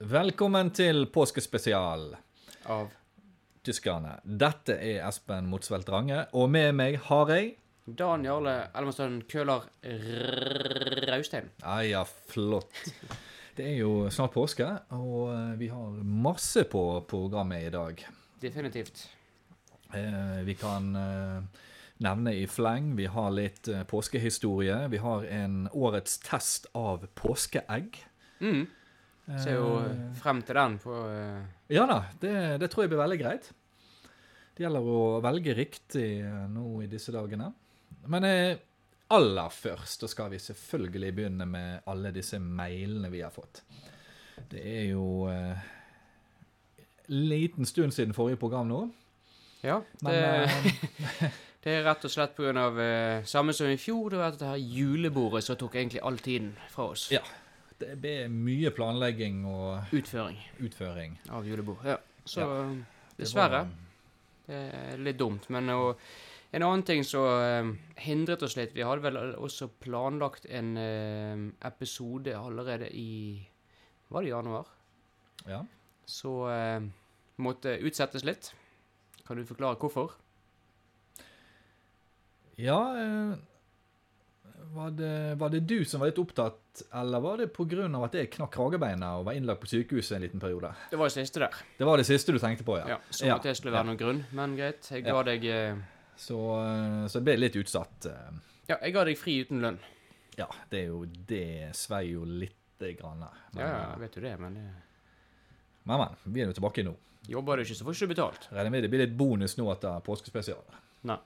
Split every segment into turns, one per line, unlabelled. Velkommen til påskespesial,
av
tyskerne. Dette er Espen Motsvelt Range, og med meg har jeg
Dan Jarle Elmestøen eh, Køhler Raustein.
Ja, ja, flott. Det er jo snart påske, og eh, vi har masse på programmet i dag.
Definitivt.
Eh, Vi kan eh, nevne i fleng. Vi har litt eh, påskehistorie. Vi har en årets test av påskeegg.
Mm. Ser jo
Eh,
frem til den på eh,
Ja da, det, det tror jeg blir veldig greit. Det gjelder å velge riktig eh, nå i disse dagene. Men eh, aller først så skal vi selvfølgelig begynne med alle disse mailene vi har fått. Det er jo eh, liten stund siden forrige program nå.
Ja. Det,
Men eh,
det er rett og slett pga. Uh, samme som i fjor, det var dette her julebordet som tok egentlig all tiden fra oss.
Ja. det blir mye planlegging og
Utføring
utføring.
av julebord. Ja. Så
Ja.
eh,
Det
dessverre.
var-
Det er litt dumt, men eh, og, en annen ting som eh, hindret oss litt Vi hadde vel også planlagt en eh, episode allerede i Var det i januar?
Ja.
Så eh, måtte utsettes litt. Kan du forklare hvorfor?
Ja eh, var det, var det du som var litt opptatt, eller var det pga. at jeg knakk kragebeina og var innlagt på sykehuset en liten periode?
Det var det siste der.
Det var det siste du tenkte på, ja.
Ja, så
Ja,
at det skulle være noen grunn, men greit. Jeg ga,
Ja.
deg, eh,
Så, eh, så det ble litt utsatt. eh.
ja, jeg ga deg fri uten lønn.
Ja, det er jo Det svei jo lite grann. Men,
Ja, ja, jeg vet jo det, men eh,
men, men, vi er jo tilbake nå.
jobber du ikke, så får du ikke betalt.
Regner med det blir litt bonus nå etter påskespesialen.
Nei.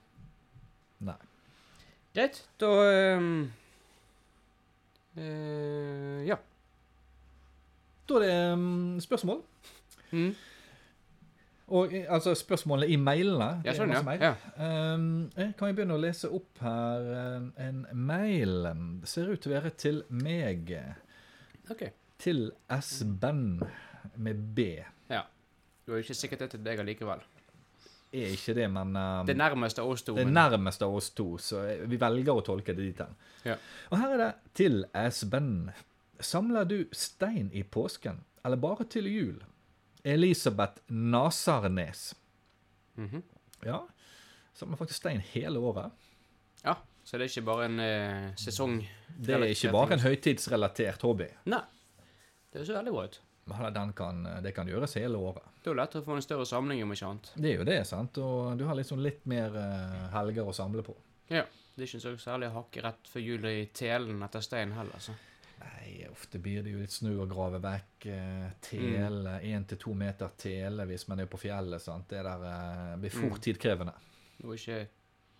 Nei.
Greit, da eh, eh, Ja.
Da er det mm, spørsmål.
Mm.
Og eh, altså spørsmålene i mailene. Det
Jeg
er
skjønner,
masse mail.
ja. ja.
Um, eh, kan jeg begynne å lese opp her um, en mail? Det ser ut til å være til meg.
Ok.
Til S-band med B.
Du er jo ikke sikkert det til deg allikevel.
Er ikke det, men um,
Det nærmeste av oss to.
det
men-
nærmeste av oss to, så eh, vi velger å tolke det dit hen.
Ja.
Og her er det til S-band. Samler du stein i påsken, eller bare til jul? Elisabeth Nasarnes.
Mhm.
Ja, samler faktisk stein hele året.
Ja, så det er ikke bare en eh, sesong.
Det er ikke bare en høytidsrelatert hobby.
Nei. Det ser veldig bra ut.
Men den kan, det kan gjøres hele året.
Det er jo lettere å få en større samling, om ikke annet.
Det er jo det, sant? Og du har liksom litt mer eh, helger å samle på.
Det er ikke så særlig å hakke rett før jul i telen etter stein heller, altså.
Nei, ofte blir det jo litt snø å grave vekk. eh, Tele,
Mm.
én til to meter tele hvis man er på fjellet. sant? Det der eh, blir fort
Mm.
tidkrevende.
Det er ikke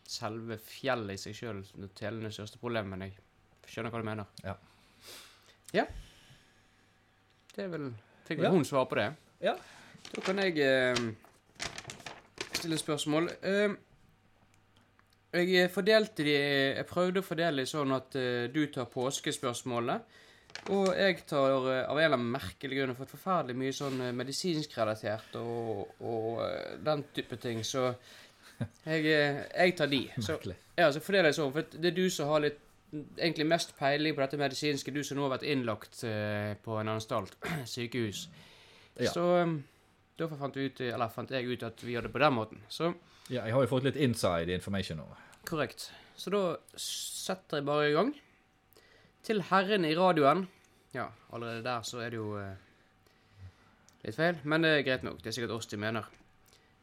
selve fjellet i seg sjøl som er telenes største problem, men jeg skjønner hva du mener.
Ja.
Ja. Det er vel Fikk vel
Ja.
hun svar på det?
Ja.
Da kan jeg eh, stille et spørsmål. Eh, jeg eh, fordelte de Jeg prøvde å fordele de sånn at eh, du tar påskespørsmålene. Og jeg tar eh, av en eller annen merkelig grunn har fått forferdelig mye sånn eh, medisinsk relatert og, og eh, den type ting, så jeg, eh, jeg tar de. Så,
Merkelig.
ja, så fordeler jeg sånn, for det er du som har litt egentlig mest peiling på dette medisinske, du som nå har vært innlagt eh, på en anstalt, sykehus.
Ja.
Så um, derfor fant, vi ut, eller fant jeg ut at vi gjør det på den måten. Så
Ja, jeg har jo fått litt inside information nå.
korrekt. Så da setter jeg bare i gang. Til herren i radioen. Ja, allerede der så er det jo eh, litt feil, men det er greit nok. Det er sikkert oss de mener.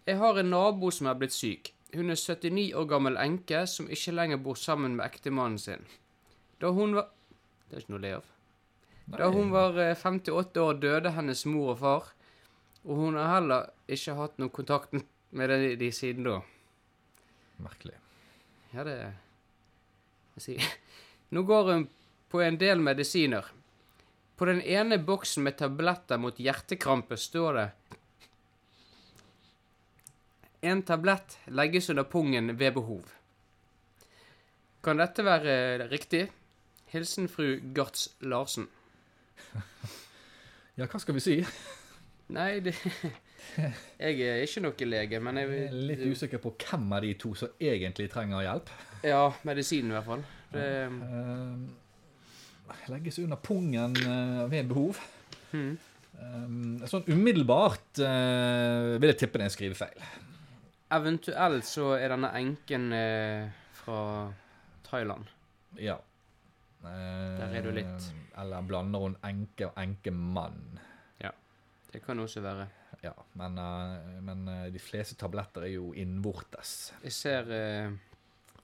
Jeg har en nabo som er blitt syk. Hun er 79 år gammel enke som ikke lenger bor sammen med ektemannen sin. Da hun var Det er ikke noe å le av. Da hun var eh, 58 år, døde hennes mor og far, og hun har heller ikke hatt noen kontakt med de, de siden da.
Merkelig.
Ja, det jeg sier. Nå går hun på en del medisiner. På den ene boksen med tabletter mot hjertekrampe står det En tablett legges under pungen ved behov. Kan dette være riktig? Hilsen fru Garts Larsen.
Ja, hva skal vi si?
Nei, det Jeg er ikke noe lege, men jeg
Jeg er litt usikker på hvem av de to som egentlig trenger hjelp.
Ja, medisinen i hvert fall. Det,
Eh, legges under pungen eh, ved behov.
mm.
Um, sånn umiddelbart eh, vil jeg tippe det er en skrivefeil.
Eventuelt så er denne enken eh, fra Thailand.
Ja. Eh,
Der er du litt.
Eller blander hun enke og enkemann.
Det kan også være.
Ja, men, eh, men eh, de fleste tabletter er jo innvortes.
Jeg ser eh,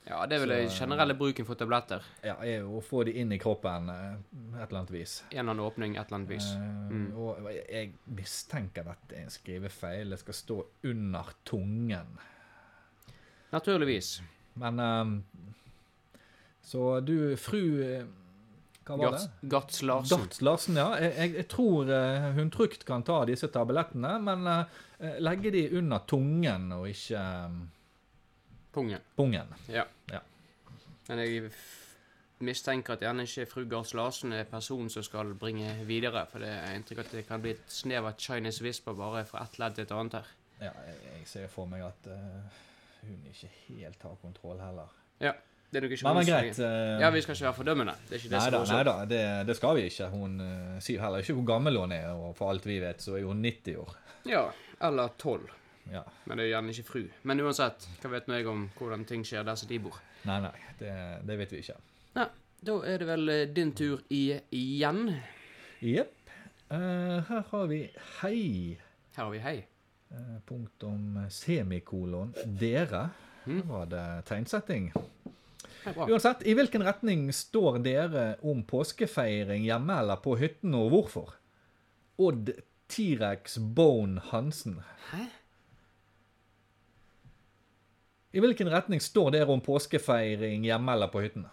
Ja, det er vel den
Så-
generelle bruken for tabletter.
Ja, er jo å få de inn i kroppen eh, et eller annet vis.
En eller annen åpning, et eller annet vis.
Eh,
Mm.
Og jeg- jeg mistenker at det er en skrivefeil. Det skal stå under tungen.
Naturligvis.
Men ehm, Så du, fru eh, Hva var
Garts,
det?
Garts Larsen.
Garts Larsen, ja. Jeg, jeg, jeg tror eh, hun trygt kan ta disse tablettene, men eh, eh, legge de under tungen og ikke ehm,
Pungen.
pungen.
Men jeg f- mistenker at gjerne ikke fru Garts Larsen er personen som skal bringe videre. For det er inntrykk at det kan bli et snev av Chinese whisper bare fra ett ledd til et annet her.
Ja, jeg, jeg ser for meg at eh, hun ikke helt har kontroll heller.
Det er nok ikke
Men,
hun
men
som-
greit. eh,
Ja, vi skal ikke være fordømmende. Det er ikke det
Nei
som
da,
er
nei
årsaken.
da det, det skal vi ikke. Hun eh, sier heller ikke hvor gammel hun er, og for alt vi vet, så er hun 90 år.
Ja, eller tolv.
Ja.
Men det er gjerne ikke fru. Men uansett, hva vet nå jeg om hvordan ting skjer der som de bor?
Nei, nei, det, det vet vi ikke.
Da er det vel eh, din tur i, igjen.
Jepp. Eh, her har vi hei,
Her har vi hei.
eh, punktum semikolon, dere. Her
Mm.
var det tegnsetting.
Det er bra.
Uansett, i hvilken retning står dere om påskefeiring hjemme eller på hytten, og hvorfor? Odd T-rex Bone Hansen.
Hæ?
I hvilken retning står dere om påskefeiring hjemme eller på hytten?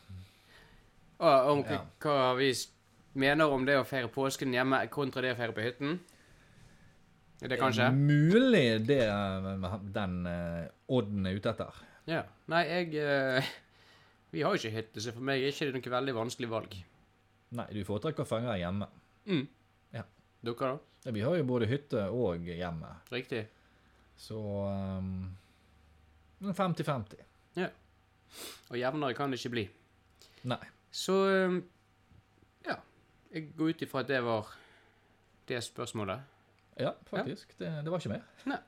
Og om hva-
Ja.
hva vi s- mener om det å feire påsken hjemme kontra det å feire på hytten? Er det
Mm.
kanskje?
Mulig det eh, den eh, Odden er ute etter.
Ja. Nei, jeg eh, Vi har jo ikke hytte, så for meg er ikke det noe veldig vanskelig valg.
Nei, du foretrekker å fange hjemme.
Mm.
Ja.
Dere, da?
Ja, Vi har jo både hytte og hjemme,
Riktig.
så ehm, 50-50.
Og jevnere kan det ikke bli.
Nei.
Så eh, Ja. Jeg går ut ifra at det var det spørsmålet.
Ja, faktisk. Det, det var ikke mer.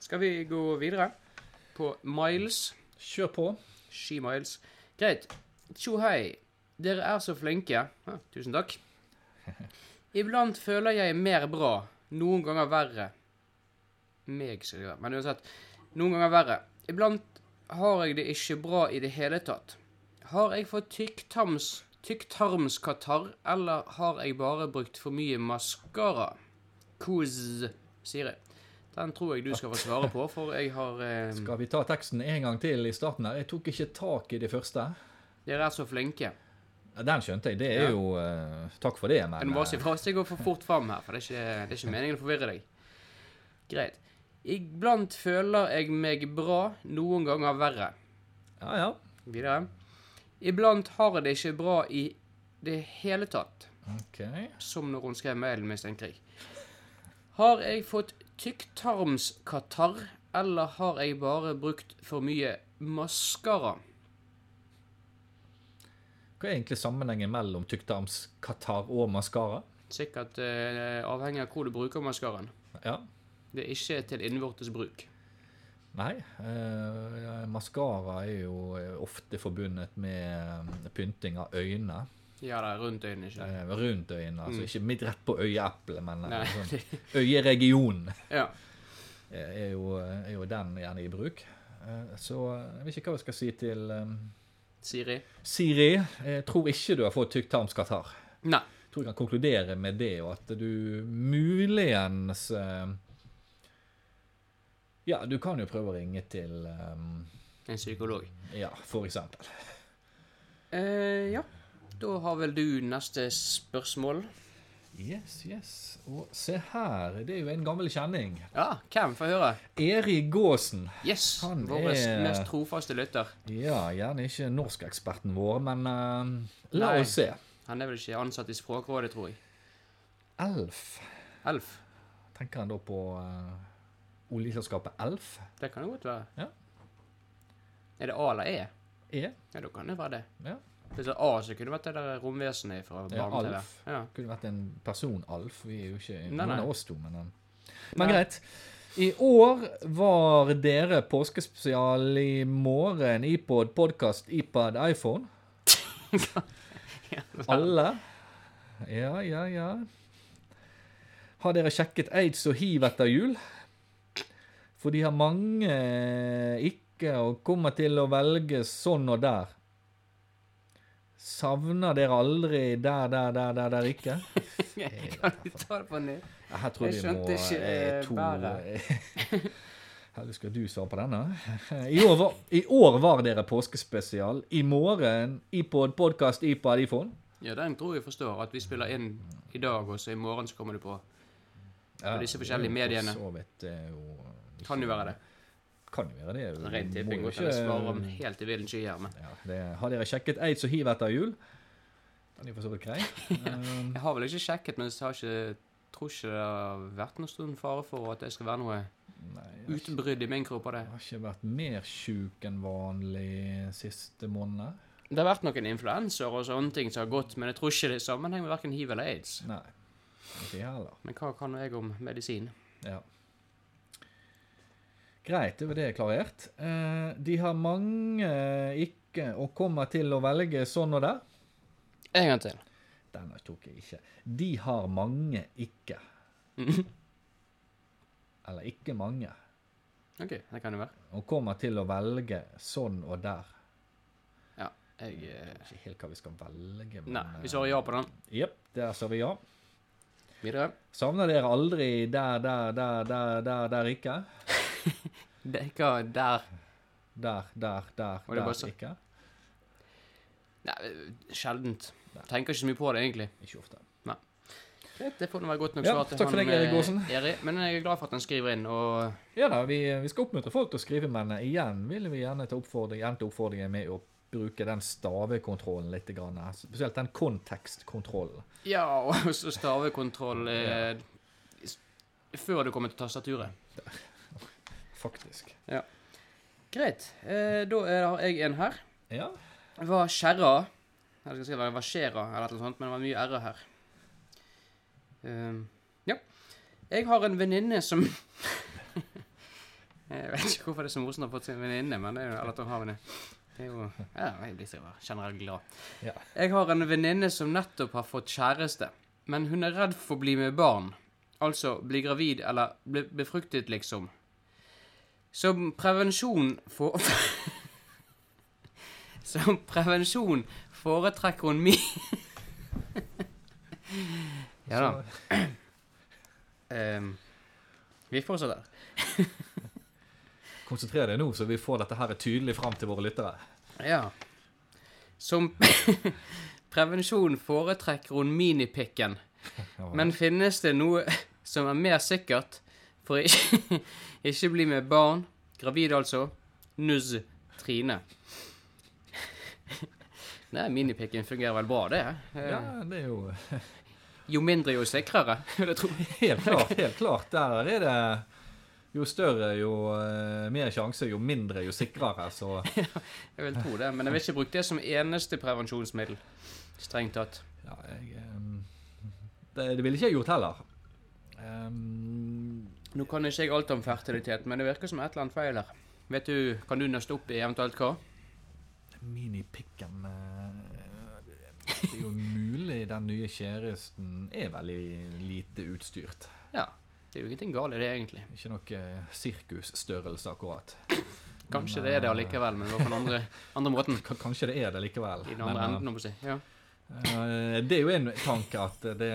Skal vi gå videre på Miles?
Kjør på.
She Miles. Greit. Tjo hei. Dere er så flinke. Ja, tusen takk. Iblant føler jeg mer bra. Noen ganger verre. Meg, sier jeg. Men uansett. Noen ganger verre. Iblant har jeg det ikke bra i det hele tatt. Har jeg fått tykktams- tykktarmskatarr, eller har jeg bare brukt for mye maskara? Quiz, sier jeg. Den tror jeg du skal få svare på, for jeg har eh,
Skal vi ta teksten en gang til i starten her? Jeg tok ikke tak i det første.
Dere er så flinke.
Ja, Den skjønte jeg. Det
Ja.
er jo eh, Takk for det, men
Men du må
eh,
si fra hvis jeg går for fort fram her, for det er ikke, det er ikke meningen å forvirre deg. Greit. Iblant føler jeg meg bra, noen ganger verre.
Ja, ja.
Videre. Iblant har jeg det ikke bra i det hele tatt,
OK.
som når hun skrev mailen, mistenker jeg. Har jeg fått tykktarmskatarr, eller har jeg bare brukt for mye maskara?
Hva er egentlig sammenhengen mellom tykktarmskatarr og maskara?
Sikkert eh, avhengig av hvor du bruker maskaraen.
Ja.
Det er ikke til innvortes bruk.
Nei. Uh, maskara er jo eh, ofte forbundet med eh, pynting av øyne.
Ja, det er rundt øynene, ikke sant?
Eh, rundt øynene. Altså ikke midt rett på øyeeplet, men eh,
Nei.
sånn, øyeregionen
Ja.
eh, er jo, er jo den gjerne i bruk. Eh, Så jeg vet ikke hva jeg skal si til eh,
Siri?
Siri. Jeg tror ikke du har fått tykktarmskatarr.
Nei.
Jeg tror jeg kan konkludere med det, og at du muligens eh, Ja, du kan jo prøve å ringe til eh,
En psykolog.
Ja, for eksempel.
Eh, ja. Da har vel du neste spørsmål.
Yes, yes. Og se her, det er jo en gammel kjenning.
Ja, hvem? Få høre.
Erik Gåsen.
Yes,
Han
vår
er-
mest trofaste lytter.
Ja, gjerne ikke norskaksperten vår, men eh, la
Nei.
oss se.
Han er vel ikke ansatt i Språkrådet, tror jeg.
Elf.
Elf.
Tenker han da på eh, oljeselskapet Elf?
Det kan det godt være.
Ja.
Er det A eller E?
E?
Ja, da kan det være det.
Ja.
Hvis det er A, så kunne det vært det der romvesenet fra
Ja,
barne-TV.
Alf.
Ja.
Kunne vært en person-Alf. Vi er jo ikke
Nei,
noen
nei.
av oss to, men han Men
Nei.
greit. I år var dere påskespesial i morgen. iPod, podkast, iPad, iPhone. Alle. Ja, ja, ja. Har dere sjekket aids og hiv etter jul? For de har mange eh, ikke og kommer til å velge sånn og der. Savner dere aldri der, der, der, der, der ikke?
Kan du ta det på ny?
Her tror
Jeg
vi må
skjønte ikke,
eh,
eh,
to
bæret.
Herlig skal du svare på denne. I år var, i år var dere påskespesial. I morgen iPod, podkast, iPad, iPhone.
Ja, den tror jeg forstår. At vi spiller inn i dag, og så i morgen så kommer du på. Og disse forskjellige
det er jo
mediene.
for Så vidt det er jo ikke-
Kan jo være det.
Kan jo være det. Du
Ren
må
tipping.
jo
Godt kan jeg svare om
ikke-
helt i villen sky her, men
Ja, det, har dere sjekket aids og hiv etter jul? Den er jo for så vidt grei. Um,
Jeg har vel ikke sjekket, men jeg har ikke, tror ikke det har vært noen stor fare for at det skal være noe
nei, jeg har ikke-
utbrudd i min kropp av det.
jeg har ikke vært mer sjuk enn vanlig siste måned.
Det har vært noen influenser og sånne ting som har gått, men jeg tror ikke det er i sammenheng med hverken hiv eller aids.
Nei, ikke jeg heller.
Men hva kan jeg om medisin?
Ja. Greit, det var det klarert. Eh, de har mange eh, ikke og kommer til å velge sånn og der.
En gang til.
Den tok jeg ikke. De har mange ikke. Eller ikke mange.
Ok, det kan jo være.
Og kommer til å velge sånn og der.
Ja, jeg
Jeg
eh,
vet ikke helt hva vi skal velge.
Nei, vi svarer ja på den.
Jepp, der sa vi ja.
Videre.
Savner dere aldri der, der, der, der, der, der ikke?
Det er ikke der
Der, der, der,
det bare
der
så-
ikke?
Nei, eh, sjeldent.
Nei.
Tenker ikke så mye på det, egentlig.
Ikke ofte.
Greit, Det får nå være godt nok
Ja,
svar til
takk for deg,
eh,
Erik Aasen.
Eri. Men jeg er glad for at han skriver inn, og
Ja da, vi, vi skal oppmuntre folk til å skrive, men igjen vil vi gjerne ta oppfordring, gjenta oppfordringen med å bruke den stavekontrollen litt, grann, her. spesielt den kontekstkontrollen.
Ja, og så stavekontroll eh, s- før du kommer til tastaturet.
Faktisk.
Greit. Eh, da er- har jeg en her.
Ja.
Hva skjerra Eller skal jeg være hva skjerra, eller noe sånt, men det var mye r-er her. Ehm, ja. Jeg har en venninne som Jeg vet ikke hvorfor det er så morsomt å få seg en venninne, men det er jo eller at hun har venninne. Det er jo Ja, jeg blir så generelt glad.
Ja.
Jeg har en venninne som nettopp har fått kjæreste, men hun er redd for å bli med barn. Altså bli gravid eller bli befruktet, liksom. Som prevensjon for Som prevensjon foretrekker hun mi... ja da.
Så,
Ehm, vi fortsetter.
konsentrer deg nå, så vi får dette her tydelig fram til våre lyttere.
Ja. Som prevensjon foretrekker hun minipikken.
Ja.
Men finnes det noe som er mer sikkert for å ikke, ikke bli med barn, gravid altså, nuzz Trine? Nei, minipikken fungerer vel bra, det. Eh,
Ja, det er jo
Jo mindre, jo sikrere. vil jeg tro.
helt klart, helt klart. Der er det jo større, jo eh, mer sjanse, jo mindre, jo sikrere. Så
Jeg vil tro det, men jeg vil ikke bruke det som eneste prevensjonsmiddel. Strengt tatt.
Ja, jeg ehm, Det, det ville ikke jeg gjort heller. Ehm,
Nå kan ikke jeg alt om fertilitet, men det virker som et eller annet feil her. Vet du, Kan du nøste opp i eventuelt hva?
Minipikken eh, Det er jo mulig den nye kjæresten er veldig lite utstyrt.
Ja. Det er jo ingenting galt i det, egentlig.
Ikke noe eh, sirkusstørrelse, akkurat.
Kanskje det er det allikevel, men det var på den andre, andre måten.
K kanskje det er det likevel.
I den andre
men,
enden, om å si. Ja.
eh, det er jo en tanke at det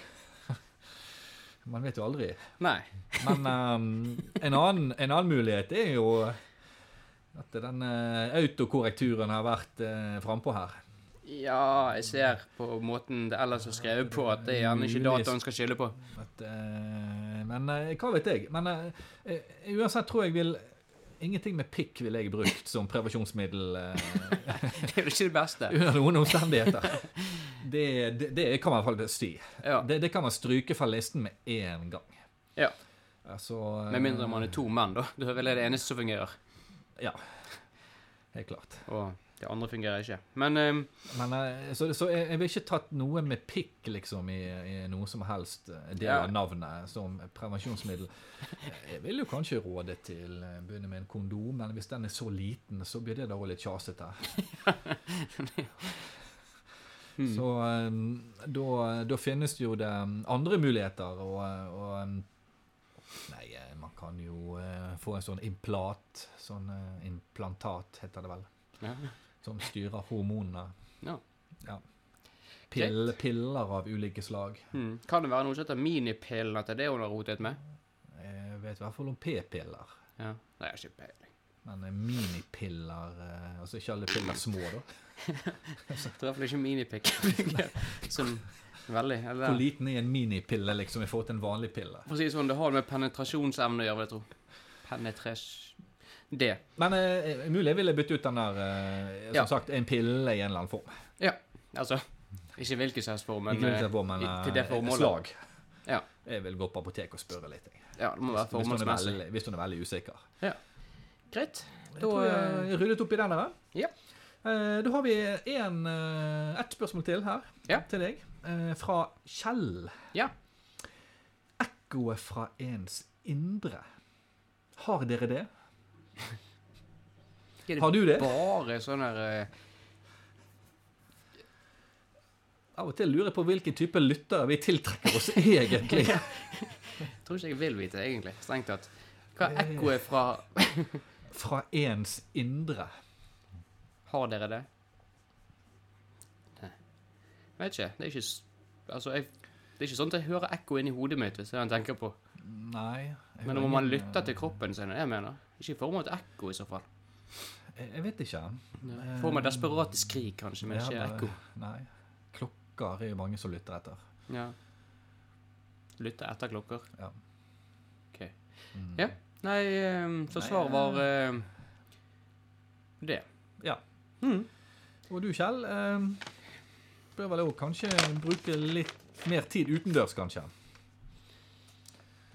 Man vet jo aldri.
Nei.
Men ehm, en, annen, en annen mulighet er jo at den eh, autokorrekturen har vært uh, frampå her.
Ja, jeg ser på måten det ellers er skrevet på, at det er gjerne ikke dataen skal skylde på.
At, eh, men eh, hva vet jeg? Men eh, eh, uansett tror jeg vil Ingenting med pikk ville jeg brukt som prevensjonsmiddel eh,
Det er jo ikke det beste.
under noen omstendigheter. Det, det, det kan man i hvert fall si.
Ja.
Det, det kan man stryke fra listen med én gang.
Ja.
Altså, eh,
Med mindre man er to menn, da. Da er vel det eneste som fungerer.
Ja. Helt klart.
Og det andre fungerer ikke. Men ehm,
Men, eh, så, så jeg, jeg vil ikke tatt noe med pikk liksom, i, i noe som helst eh, del
Ja.
av navnet som prevensjonsmiddel. Eh, Jeg vil jo kanskje råde til eh, å begynne med en kondom, men hvis den er så liten, så blir det da også litt kjasete. Så eh, da, da finnes det jo det mm, andre muligheter, og, eh, og mm, Nei, eh, man kan jo eh, få en sånn implat, sånn eh, implantat heter det vel,
ja.
som styrer hormonene.
Ja.
Pill, piller av ulike slag.
Hmm. Kan det være noe som heter minipillen, at det er det hun har rotet med?
Jeg vet i hvert fall om p-piller.
Ja. Nei, jeg har ikke peiling.
Men eh, minipiller eh, Altså ikke alle piller små, da.
Det er i hvert fall ikke minipikk. Som veldig
Hvor
eller,
liten er en minipille liksom i forhold til en vanlig pille?
For å si det sånn, det har med penetrasjonsevne å gjøre, vil jeg tro. Penetras... Det.
Men eh, mulig jeg ville bytte ut den der eh, Som
Ja.
sagt, en pille i en eller annen form.
Altså Ikke hvilken som helst form, men
ikke
eh,
vet jeg på, men
i-
eh,
til det
et
formålet.
slag.
Ja.
Jeg vil gå på apoteket og spørre litt. Jeg.
eh, Ja, det må være
Hvis hun er
formålsmessig.
veldig, hvis hun er veldig usikker.
Greit.
Jeg
Da,
tror jeg
eh,
jeg ryddet opp i den der.
ja.
Eh, Da har vi en, eh, ett spørsmål til her
Ja.
til deg, eh, fra Kjell.
Ja.
Ekkoet fra ens indre. Har dere det?
Er det
Har du det?
Bare sånn her eh,
Av og til lurer jeg på hvilken type lyttere vi tiltrekker oss egentlig.
Tror ikke jeg vil vite, egentlig. Strengt tatt. Hva
Eh.
ekkoet fra
Fra ens indre.
Har dere det? Nei. Vet ikke. Det er ikke s- Altså, jeg Det er ikke sånn at jeg hører ekko inni hodet mitt, hvis det er det han tenker på.
Nei. jeg
Men
hører
om man
ingen-
lytter til kroppen sin, er det jeg mener. Ikke i form av et ekko, i så fall.
Jeg jeg vet ikke.
I form av desperate skrik, kanskje, men ikke
Ja,
ekko.
Nei. Klokker er jo mange som lytter etter.
Ja. Lytte etter klokker.
Ja. Mm.
OK. Ja. Nei, ehm, så
Nei,
svaret var
eh,
ehm, det.
Ja.
Mm.
Og du, Kjell, eh, bør vel også kanskje bruke litt mer tid utendørs, kanskje?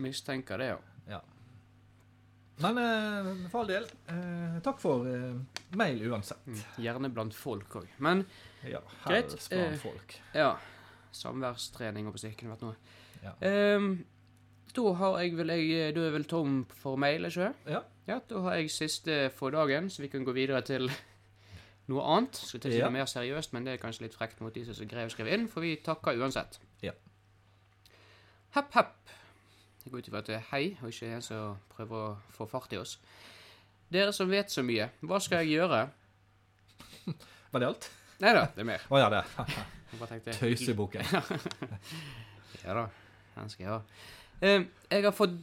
Mistenker det, ja.
Men eh, for all del, eh, takk for eh, mail uansett.
Mm. Gjerne blant folk òg. Men
Ja,
Greit,
helst blant
eh,
folk.
ja Samværstrening og på styrken har vært noe.
Ja.
Ehm, da har jeg vel jeg, Du er vel tom for mail, ikke sant?
Ja.
ja. Da har jeg siste for dagen, så vi kan gå videre til noe annet. Skal til å si
Ja.
noe mer seriøst, men det er kanskje litt frekt mot de som greier å skrive inn, for vi takker uansett.
Ja.
Hepp, hepp. Jeg går ut ifra at det er hei, og ikke en som prøver å få fart i oss. Dere som vet så mye, hva skal jeg gjøre?
Var det alt?
Nei da, det er mer.
Å ja, det.
Jeg bare tenkte
Tøysebukken.
Ja da, den skal jeg ha. Eh, jeg har fått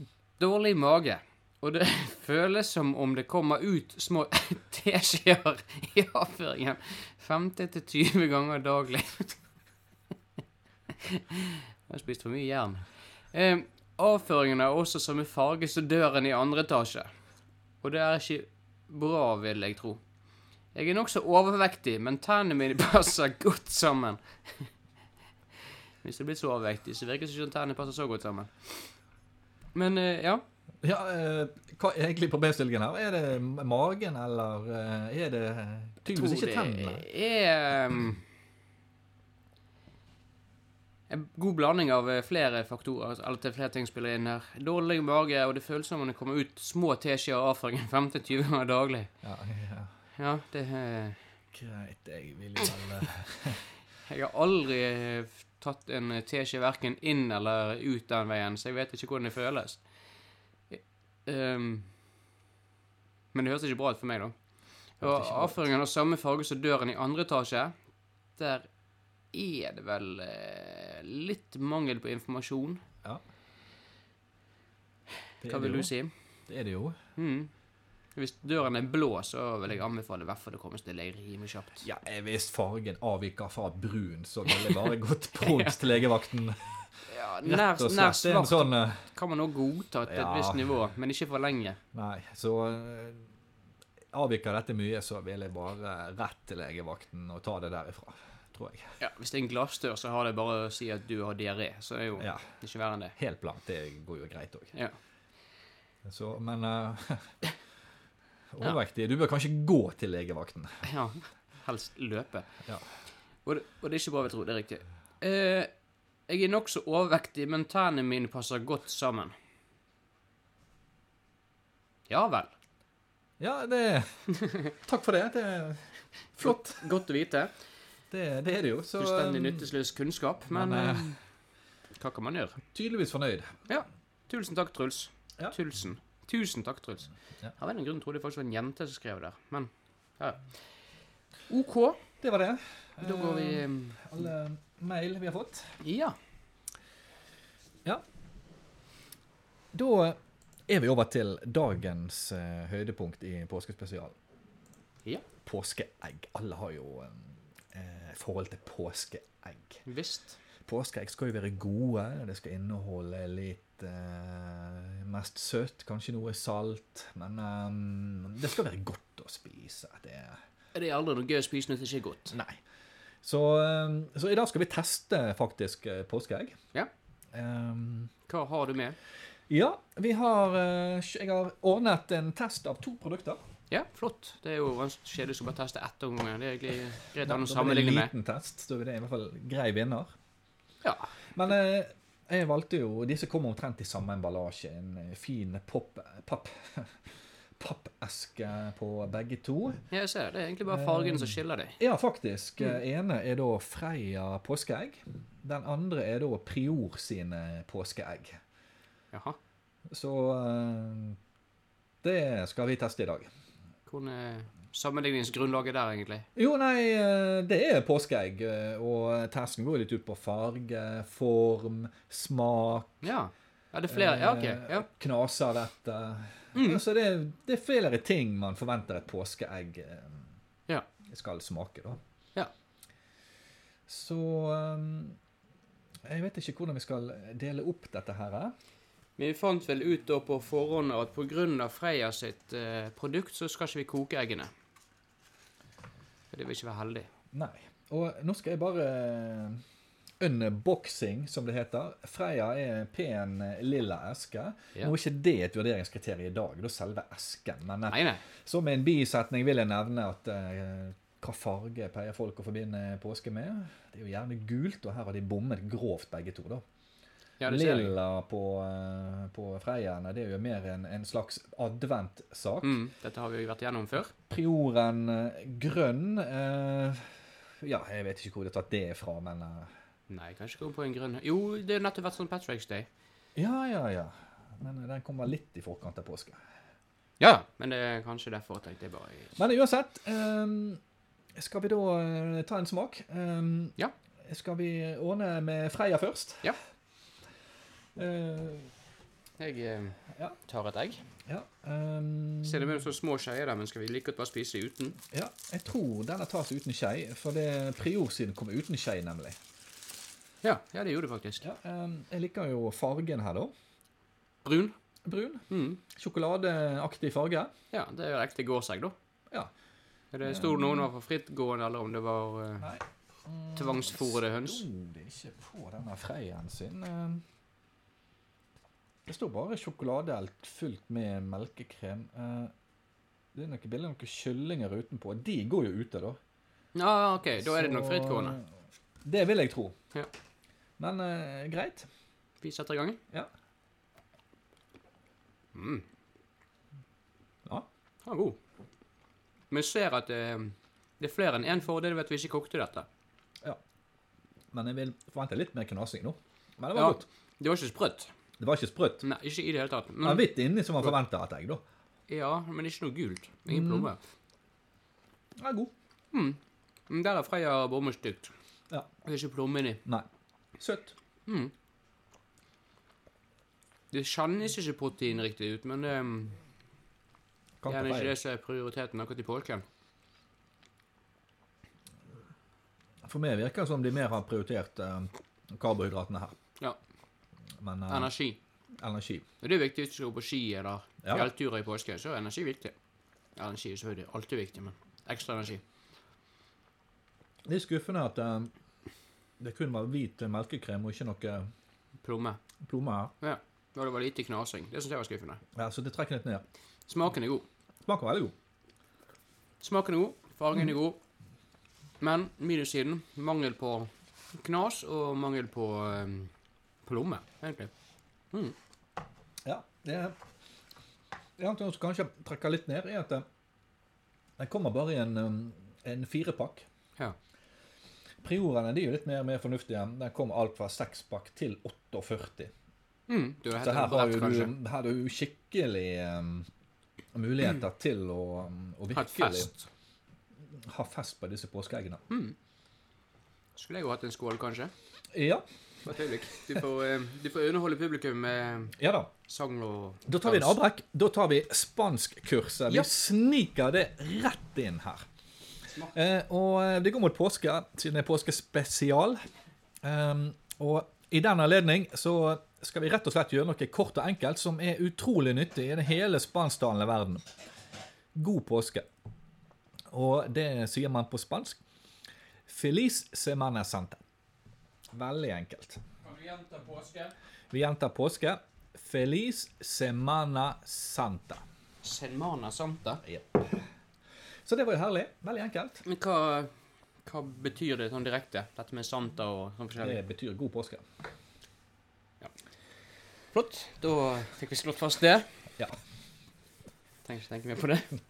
dårlig mage, og det føles som om det kommer ut små teskjeer i avføringen 15-20 ganger daglig. Jeg har spist for mye jern. Eh, avføringen er også samme farge som døren i andre etasje. Og det er ikke bra, vil jeg tro. Jeg er nokså overvektig, men tennene mine passer godt sammen. Hvis det blir så overvektig, så virker det ikke som tennene passer så godt sammen. Men eh, ja.
Ja, eh, hva er egentlig problemstillingen her? Er det magen, eller eh, er det tydeligvis ikke tennene?
er ehm, en god blanding av eh, flere faktorer. altså, Alt det flere ting spiller inn her. Dårlig mage, og det føles som om det kommer ut små teskjeer av avføringen 15-20 ganger daglig.
Ja, ja.
Ja, det eh,
Greit, jeg vil jo vel eh,
Jeg har aldri eh, tatt en teskje verken inn eller ut den veien, så jeg vet ikke hvordan det føles. Ehm, men det høres ikke bra ut for meg, da.
Hørtes ikke
Og
bra ut.
avføringen har samme farge som døren i andre etasje. Der er det vel eh, litt mangel på informasjon.
det er
Hva
det
vil
jo.
du si?
Det er det jo.
Mm. Hvis døren er blå, så vil jeg anbefale i hvert fall å komme til deg rimelig kjapt.
Ja, eh, hvis fargen avviker fra brun, så ville jeg bare gått prompt til legevakten.
Ja, nær,
Rett og
nær
slett. Det er en
svart
sånn eh,
kan man også godta til et
Ja.
visst nivå, men ikke for lenge.
Nei, så eh, avviker dette mye, så vil jeg bare rett til legevakten og ta det derifra, tror jeg.
Ja, Hvis det er en glassdør, så har det bare å si at du har diaré. Så det er jo
Ja,
ikke verre enn det.
helt blankt. Det går jo greit òg.
Ja.
Så, men eh, overvektig. Du bør kanskje gå til legevakten.
Ja, helst løpe.
Ja.
Og, det, og det er ikke bra vi tror, det er riktig. Eh, jeg er nokså overvektig, men tennene mine passer godt sammen. Ja vel.
Ja, det Takk for det. Det er flott.
Godt å vite.
Det, det er det jo. Så
Fullstendig
eh,
nytteløs kunnskap, men
men,
eh, hva kan man gjøre?
tydeligvis fornøyd.
Tusen takk, Truls.
Ja.
Tusen. Tusen takk, Truls.
Ja.
Av en eller annen grunn trodde jeg faktisk det var en jente som skrev der, men ja. OK,
Det var det.
da går vi ehm,
Eh, Alle mail vi har fått.
Ja.
Da er vi over til dagens eh, høydepunkt i påskespesialen.
Ja.
Påskeegg. Alle har jo eh, forhold til påskeegg.
Visst.
Påskeegg skal jo være gode. Det skal inneholde litt eh, mest søtt, kanskje noe salt. Men eh, det skal være godt å spise. Det er
Det er aldri noe gøy å spise noe som ikke er godt.
Nei. Så, eh, så i dag skal vi teste faktisk eh, påskeegg.
Ja.
Ehm,
Hva har du med?
ja, vi har eh, Jeg har ordnet en test av to produkter.
Ja, flott. Det er jo vanskelig- kjedelig å bare teste ett om gangen. Det er egentlig greit
Da
å ha noe å
blir det
sammenligne
en
med.
liten test, så det er i hvert fall grei vinner.
Ja.
Men eh, jeg valgte jo disse kommer omtrent i samme emballasje. En eh, fin pop, papp, pappeske på begge to.
ja, jeg ser det. Det er egentlig bare fargen som skiller dem.
Ja, faktisk.
Mm.
eh, ene er da Freia påskeegg. Den andre er da Prior sine påskeegg.
Jaha.
Så eh, det skal vi teste i dag.
Hvordan er sammenligningsgrunnlaget der, egentlig?
Jo, nei, eh, det er påskeegg, eh, og testen går litt ut på farge, form, smak.
Ja. Ja, det er flere. Ja, OK.
eh,
Ja. Mm.
Knaser dette. Ja, Så det, er- det er flere ting man forventer et påskeegg eh,
Ja.
skal smake, da.
Ja.
Så eh, Jeg vet ikke hvordan vi skal dele opp dette her. eh.
Men vi fant vel ut da på forhånd at pga. Freia sitt eh, produkt, så skal ikke vi koke eggene. For det vil ikke være heldig.
Nei. Og nå skal jeg bare eh, Unboxing, som det heter. Freia er en pen, eh, lilla eske.
Ja.
Nå er ikke det et vurderingskriterium i dag, da selve esken. Men eh,
Nei, nei.
som en bisetning vil jeg nevne at eh, hva farge pleier folk å forbinde påske med? Det er jo gjerne gult, og her har de bommet grovt begge to. da.
Ja, det ser jeg.
Lilla på, eh, på Freiaene, det er jo mer en, en slags adventsak.
Mm, dette har vi jo vært gjennom før.
Prioren eh, grønn eh, Ja, jeg vet ikke hvor de har tatt det fra, men eh,
Nei, kanskje gå på en grønn Jo, det har nettopp vært sånn Patrick's Day.
Ja, ja, ja. Men eh, den kommer litt i forkant av påske.
Ja, men det er kanskje derfor jeg tenkte jeg bare
Men uansett, ehm, skal vi da eh, ta en smak? Ehm,
Ja.
Skal vi ordne med Freia først?
Ja.
Eh,
Jeg eh,
Ja.
tar et egg.
ja. ehm,
Ser det med så små skeier der, men skal vi like godt bare spise uten?
ja. Jeg tror denne tas uten skei, for det Prior sin kom uten skei, nemlig.
Ja, ja det gjorde det faktisk.
Ja, ehm, jeg liker jo fargen her, da.
Brun.
Brun.
Mm.
Sjokoladeaktig farge.
Ja, det er jo ekte gåsegg, da.
Ja.
Er det Sto det noen var for frittgående, eller om det var eh,
Nei. Mm,
tvangsfôrede høns?
Sto det ikke på denne Freiaen sin? eh, Det står bare sjokoladeelt fullt med melkekrem. eh, Det er noe bilde av noen kyllinger utenpå. De går jo ute, da.
Ja, ah, OK, da er det nok
Så,
frittgående.
eh, Det vil jeg tro.
Ja.
Men eh, greit.
Vi setter i gang? eh?
Ja.
Mm.
Ja.
Den er god. Vi ser at det, det er flere enn én fordel ved at vi ikke kokte dette.
Men jeg vil forvente litt mer knasing nå. Men det var
Ja. Mm.
godt.
Det var ikke sprøtt.
Det var ikke sprøtt.
Nei, ikke i det hele tatt.
Det var
Men,
hvitt inni som man forventer at jeg, da.
ja, men ikke noe gult.
Mm.
Ingen plomme.
Den er god.
Men der er Freia bommestygt.
Ja.
Det er ikke plomme inni.
Nei. Søtt.
Det kjennes ikke protein riktig ut, men det um,
Kan
gjerne
ta
ikke
feil.
det som er prioriteten akkurat i påsken.
For meg virker det som de mer har prioritert eh, karbohydratene her.
Ja.
Men eh,
Energi.
energi.
Og det er viktig hvis du skal gå på ski eller
Ja.
fjellturer i påsken, så er energi viktig. Energi er selvfølgelig alltid viktig, men ekstra energi.
Det er skuffende at eh, det kun var hvit melkekrem og ikke noe
Plomme.
plomme her.
Ja. Og det var lite knasing. Det syns jeg var skuffende.
Ja, så det trekker litt ned.
Smaken er god.
Smaker veldig god.
Smaken er god, fargen er god. Men minussiden mangel på knas og mangel på, eh, på lomme, egentlig.
Ja, det er Det er noe som kanskje trekker litt ned, er at det- den kommer bare i en, um, en firepakk.
Ja.
Priorene de er jo litt mer, mer fornuftige. Den kommer alt fra sekspakk til 48.
Mm, du, det
Så
heter
her har
brett,
jo
kanskje.
du, her har du skikkelig um, muligheter til å, um, å
Hatt
virkelig
Mm. fest.
ha fest på disse påskeeggene.
Skulle jeg jo hatt en skål, kanskje?
Ja,
Bare et øyeblikk. Du får, eh, du får underholde publikum med
ja da.
sang og
Da tar vi en
dans.
avbrekk. Da tar vi spanskkurset. Vi
Ja.
sniker det rett inn her.
Smart.
Eh, og eh, det går mot påske, siden det er påskespesial. Ehm, og i den anledning så skal vi rett og slett gjøre noe kort og enkelt som er utrolig nyttig i den hele spansktalende verden. God påske. Og det sier man på spansk. Feliz semana santa. Veldig enkelt.
Kan du gjenta påske?
Vi gjentar påske. Feliz semana santa.
Semana Santa.
Så det var jo herlig. Veldig enkelt.
Men hva, hva betyr det sånn direkte, dette med Santa og sånn forskjellig?
Det betyr god påske.
Flott. Da fikk vi slått fast det.
Ja.
Trenger ikke tenke mer på det.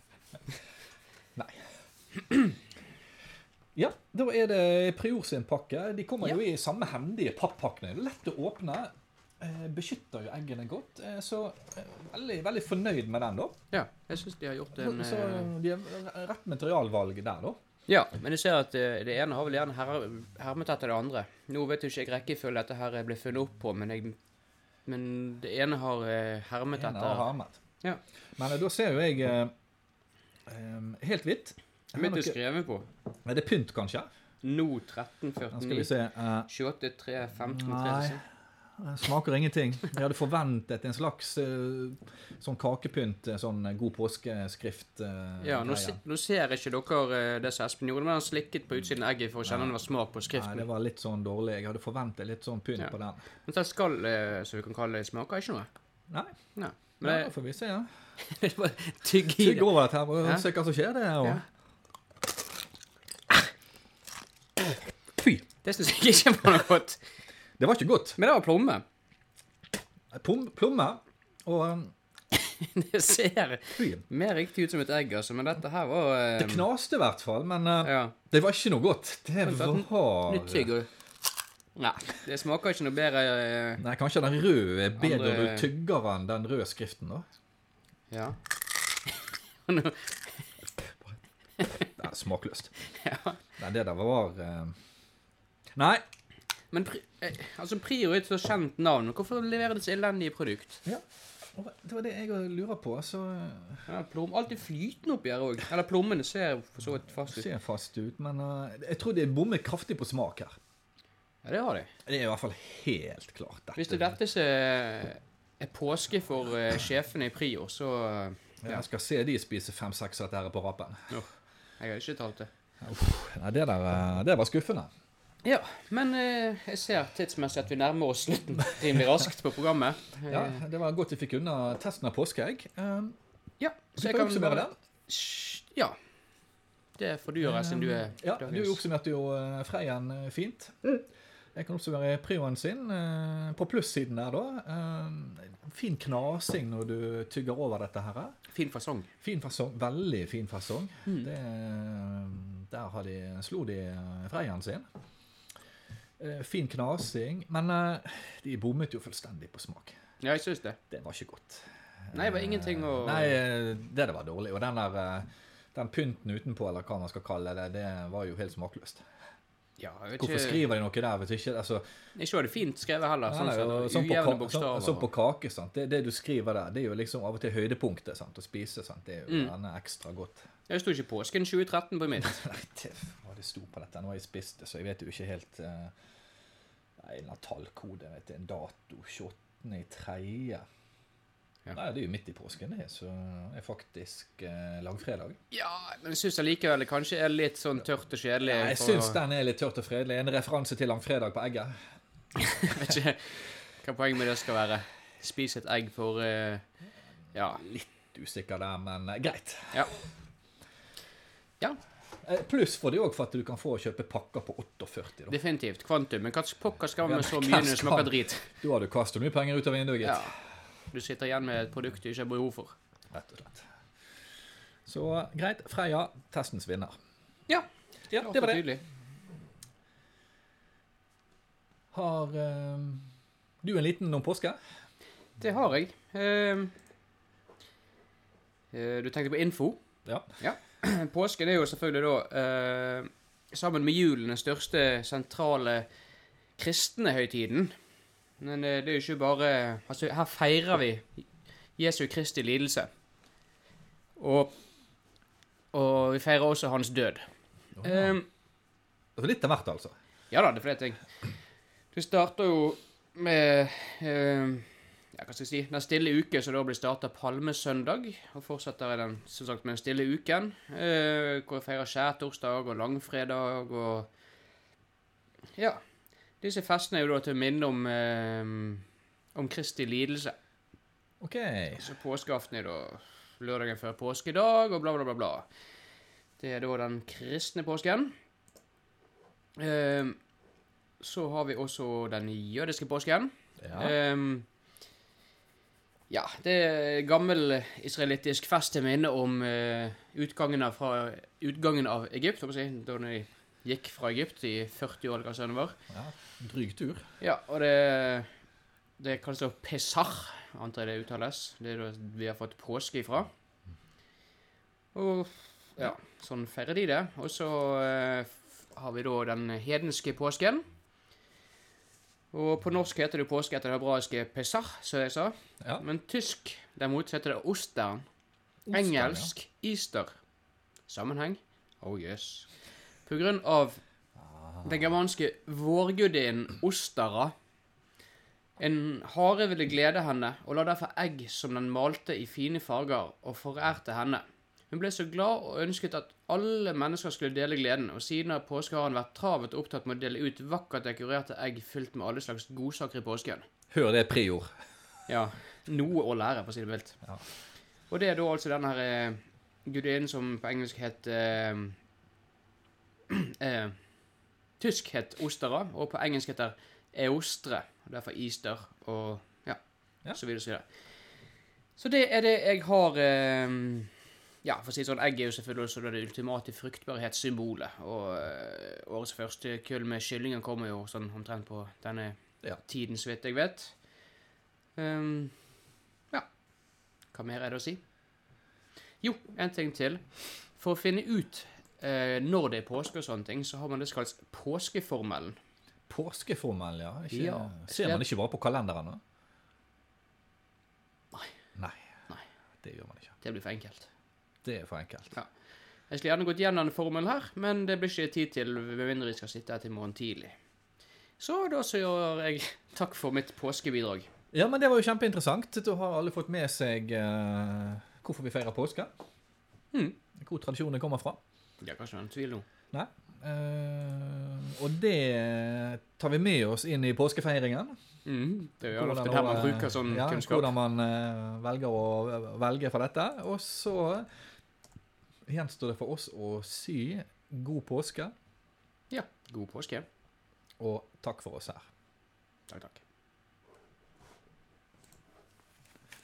Ja, da er det Prior sin pakke. De kommer jo i samme hendige pappakkene. Lett å åpne. Eh, Beskytter jo eggene godt. Eh, Så eh, veldig, veldig fornøyd med den, da.
Ja, jeg syns de har gjort en
Så
eh,
de har rett materialvalg der, da.
Ja, men jeg ser at eh, det ene har vel gjerne her- hermet etter det andre. Nå vet jo ikke jeg rekkefølge dette her ble funnet opp på, men, jeg, men det ene har eh, hermet
En av
etter
harmet.
Ja.
Men eh, da ser jo jeg eh, eh, helt hvitt. Her er
Mitt
noe-
er skrevet på.
Er det pynt, kanskje?
Nå 13,
Nå skal vi
49,
se. Eh,
28, 3, 15,
Nei.
36.
Det Eh, smaker ingenting. Jeg hadde forventet en slags eh, sånn kakepynt, eh, sånn god påskeskrift. eh,
Ja, nå,
greie.
se- nå ser ikke dere eh, det som Espen gjorde, men han slikket på utsiden av egget for å kjenne om det var smak på
Nei,
skriften.
det var litt sånn dårlig. Jeg hadde forventet litt sånn pynt
Ja.
på den.
Men det skal, eh, som vi kan kalle det, smaker ikke noe.
Nei,
Nei.
ja,
Men
da får vi se. Ja.
det, det var tygg i
Tygg
det.
over dette her og
Ja.
se hva som skjer. Det, og...
Ja.
Fy!
Det syns jeg ikke var noe godt.
Det var ikke godt.
Men det var plomme.
Plom, plomme og um,
Det ser
fy.
mer riktig ut som et egg, altså, men dette her var eh,
Det knaste i hvert fall, men eh,
Ja.
det var ikke noe godt. Det
Vent,
var
vent, Nytt tygg og Nei, det smaker ikke noe bedre eh,
Nei, kanskje den røde er bedre
Andre-
du tygger enn den røde skriften, da.
Ja.
Det er smakløst. Nei, det der var eh, Nei.
Men pri, eh, altså, Prio er et så kjent navn. Hvorfor leverer det så elendige produkt?
Det var det jeg lurer på. Så eh,
Ja, plom, alt er flytende oppi her òg. Eller plommene ser for så vidt fast ut.
ser fast ut, men eh, jeg tror de bommer kraftig på smak her.
Ja, det har de.
Det er i hvert fall helt klart. Dette.
Hvis det er dette som er påske for eh, sjefene i Prior, så eh,
Jeg skal se de spise fem-seks av dette her på rappen.
Jeg har ikke talt det.
Nei, det der eh, det var skuffende.
Ja, men eh, jeg ser tidsmessig at vi nærmer oss slutten rimelig raskt på programmet. Eh,
Ja, Det var godt vi fikk unna testen av påskeegg. Um,
ja,
du kan oppsummere den.
Sj, Ja. Det får du gjøre, siden du er
Eh, Mm. Ja,
dagens-
du oppsummerte jo eh, Freien eh, fint. Jeg kan oppsummere prioen sin eh, på plussiden der, da. Eh, Fin knasing når du tygger over dette her. eh.
Fin fasong.
Fin fasong. Veldig fin fasong.
Mm.
Det, eh, der har de, slo de eh, Freien sin. Eh, Fin knasing, men eh, de bommet jo fullstendig på smak.
Ja, jeg syns det.
Det var ikke godt.
Nei, det var ingenting å
Nei, eh, det der var dårlig. Og den der eh, den pynten utenpå, eller hva man skal kalle det, det var jo helt smakløst.
ja, jeg vet
Hvorfor
ikke,
skriver de noe der hvis ikke altså,
ikke var det fint skrevet heller. Sånn
nei,
sett.
og
og
sånn, på
Ujevne
ka, sånn,
bokstaver.
sånn på kake, sant? Det, det du skriver der, det er jo liksom av og til høydepunktet sant? å spise. Sant? Det er jo
Mm.
gjerne ekstra godt.
Jeg sto ikke påsken 2013 på mitt.
Nei, det, hva det sto på dette? Nå har jeg spist det, så jeg vet jo ikke helt eh, Nei, En eller annen tallkode, vet du, en dato. 28. i tredje.
Ja.
Nei, det er jo midt i påsken, det, så det er faktisk eh, langfredag.
Ja, men jeg syns allikevel det kanskje er litt sånn tørt og kjedelig.
Nei, jeg
for-
syns den er litt tørt og fredelig. En referanse til langfredag på egget.
Jeg vet ikke hva poenget med det skal være. Spis et egg for eh, Ja.
Usikker der, men eh, greit.
ja. Ja,
Eh, Pluss for det òg for at du kan få kjøpe pakker på 48. Da,
definitivt. Kvantum. Men hva pokker skal man med så
Ja,
mye
hva
når det
skal-
smaker drit?
da har du kastet mye penger ut av vinduet,
Ja.
gitt.
Du sitter igjen med et produkt du ikke har behov for.
Rett og slett. Så greit. Freya, testens vinner.
Ja,
Ja, det var det.
Tydelig.
Har eh, du en liten om påske?
Det har jeg. Ehm, eh, du tenkte på info.
Ja.
Påsken er jo selvfølgelig da eh, sammen med julen den største sentrale kristne høytiden. Men eh, det er jo ikke bare Altså, her feirer vi Jesu Kristi lidelse. Og, og vi feirer også hans død.
Eh,
Ehm,
altså litt av hvert, altså.
ja da, det er flere ting. Det starter jo med eh, ja, hva skal jeg si, Den stille uke, som da blir starta palmesøndag. Og fortsetter i den som sagt, med den stille uken. eh, hvor jeg feirer skjærtorsdag og langfredag og Ja. Disse festene er jo da til minne om, eh, om Kristi lidelse.
OK.
Så påskeaften er da lørdagen før påskedag, og bla, bla, bla, bla. Det er da den kristne påsken. Ehm, så har vi også den jødiske påsken.
Ja.
Ehm, ja, det er gammel israelittisk fest til minne om eh, utgangen, av fra, utgangen av Egypt, håper jeg, å si, da de gikk fra Egypt i 40 år, eller hva sønnen var.
ja. Dryg tur.
Ja, og det, det kalles da pesach, antar jeg det uttales. Det er da vi har fått påske ifra. Og ja, sånn feirer de det. Og så eh, f- har vi da den hedenske påsken. Og på norsk heter det jo påske etter det hebraiske pesach, som jeg sa.
Ja.
Men tysk derimot heter det ostern.
Ostern,
Engelsk easter. Sammenheng? Oh yes. På grunn av den germanske vårgudinnen Ostara. En hare ville glede henne, og la derfor egg som den malte i fine farger, og forærte henne. Hun ble så glad og ønsket at alle mennesker skulle dele gleden, og siden har påskeharen vært travet og opptatt med å dele ut vakkert dekorerte egg fylt med alle slags godsaker i påsken.
Hør det prior.
Ja, noe å lære, for å si det mildt.
Ja.
Og det er da altså den her eh, gudinnen som på engelsk het eh, eh, Tysk het Ostera, og på engelsk heter Eostre. og Derfor Easter og ja,
Ja.
så videre og så videre. Så det er det jeg har eh, Ja, for å si det sånn, egg er jo selvfølgelig også det ultimate fruktbarhetssymbolet. Og eh, årets første kull med kyllinger kommer jo sånn omtrent på denne
Ja.
tiden, så vidt jeg vet. Ehm, ja. Hva mer er det å si? Jo, en ting til. For å finne ut eh, når det er påske og sånne ting, så har man det som kalles påskeformelen.
Påskeformel, ja. Ikke,
Ja.
Ser man ikke bare på kalenderen? da? Nei.
Nei.
Det gjør man ikke.
Det blir for enkelt.
Det er for enkelt.
Jeg skulle gjerne gått gjennom denne formelen her, men det blir ikke tid til med mindre vi skal sitte her til i morgen tidlig. Så da så gjør jeg takk for mitt påskebidrag.
Ja, men det var jo kjempeinteressant. Da har alle fått med seg eh, hvorfor vi feirer påske. Mm.
Mhm.
Hvor tradisjonen kommer fra.
Det er kanskje noen tvil nå.
Nei. Eh, og det tar vi med oss inn i påskefeiringen.
Mhm, det er jo
Hvordan
ofte der man
å, eh,
bruker sånn
ja,
kunnskap.
Hvordan man eh, velger å velge for dette. Og så gjenstår det for oss å si god påske
Ja, god påske.
og takk for oss her.
Takk, takk.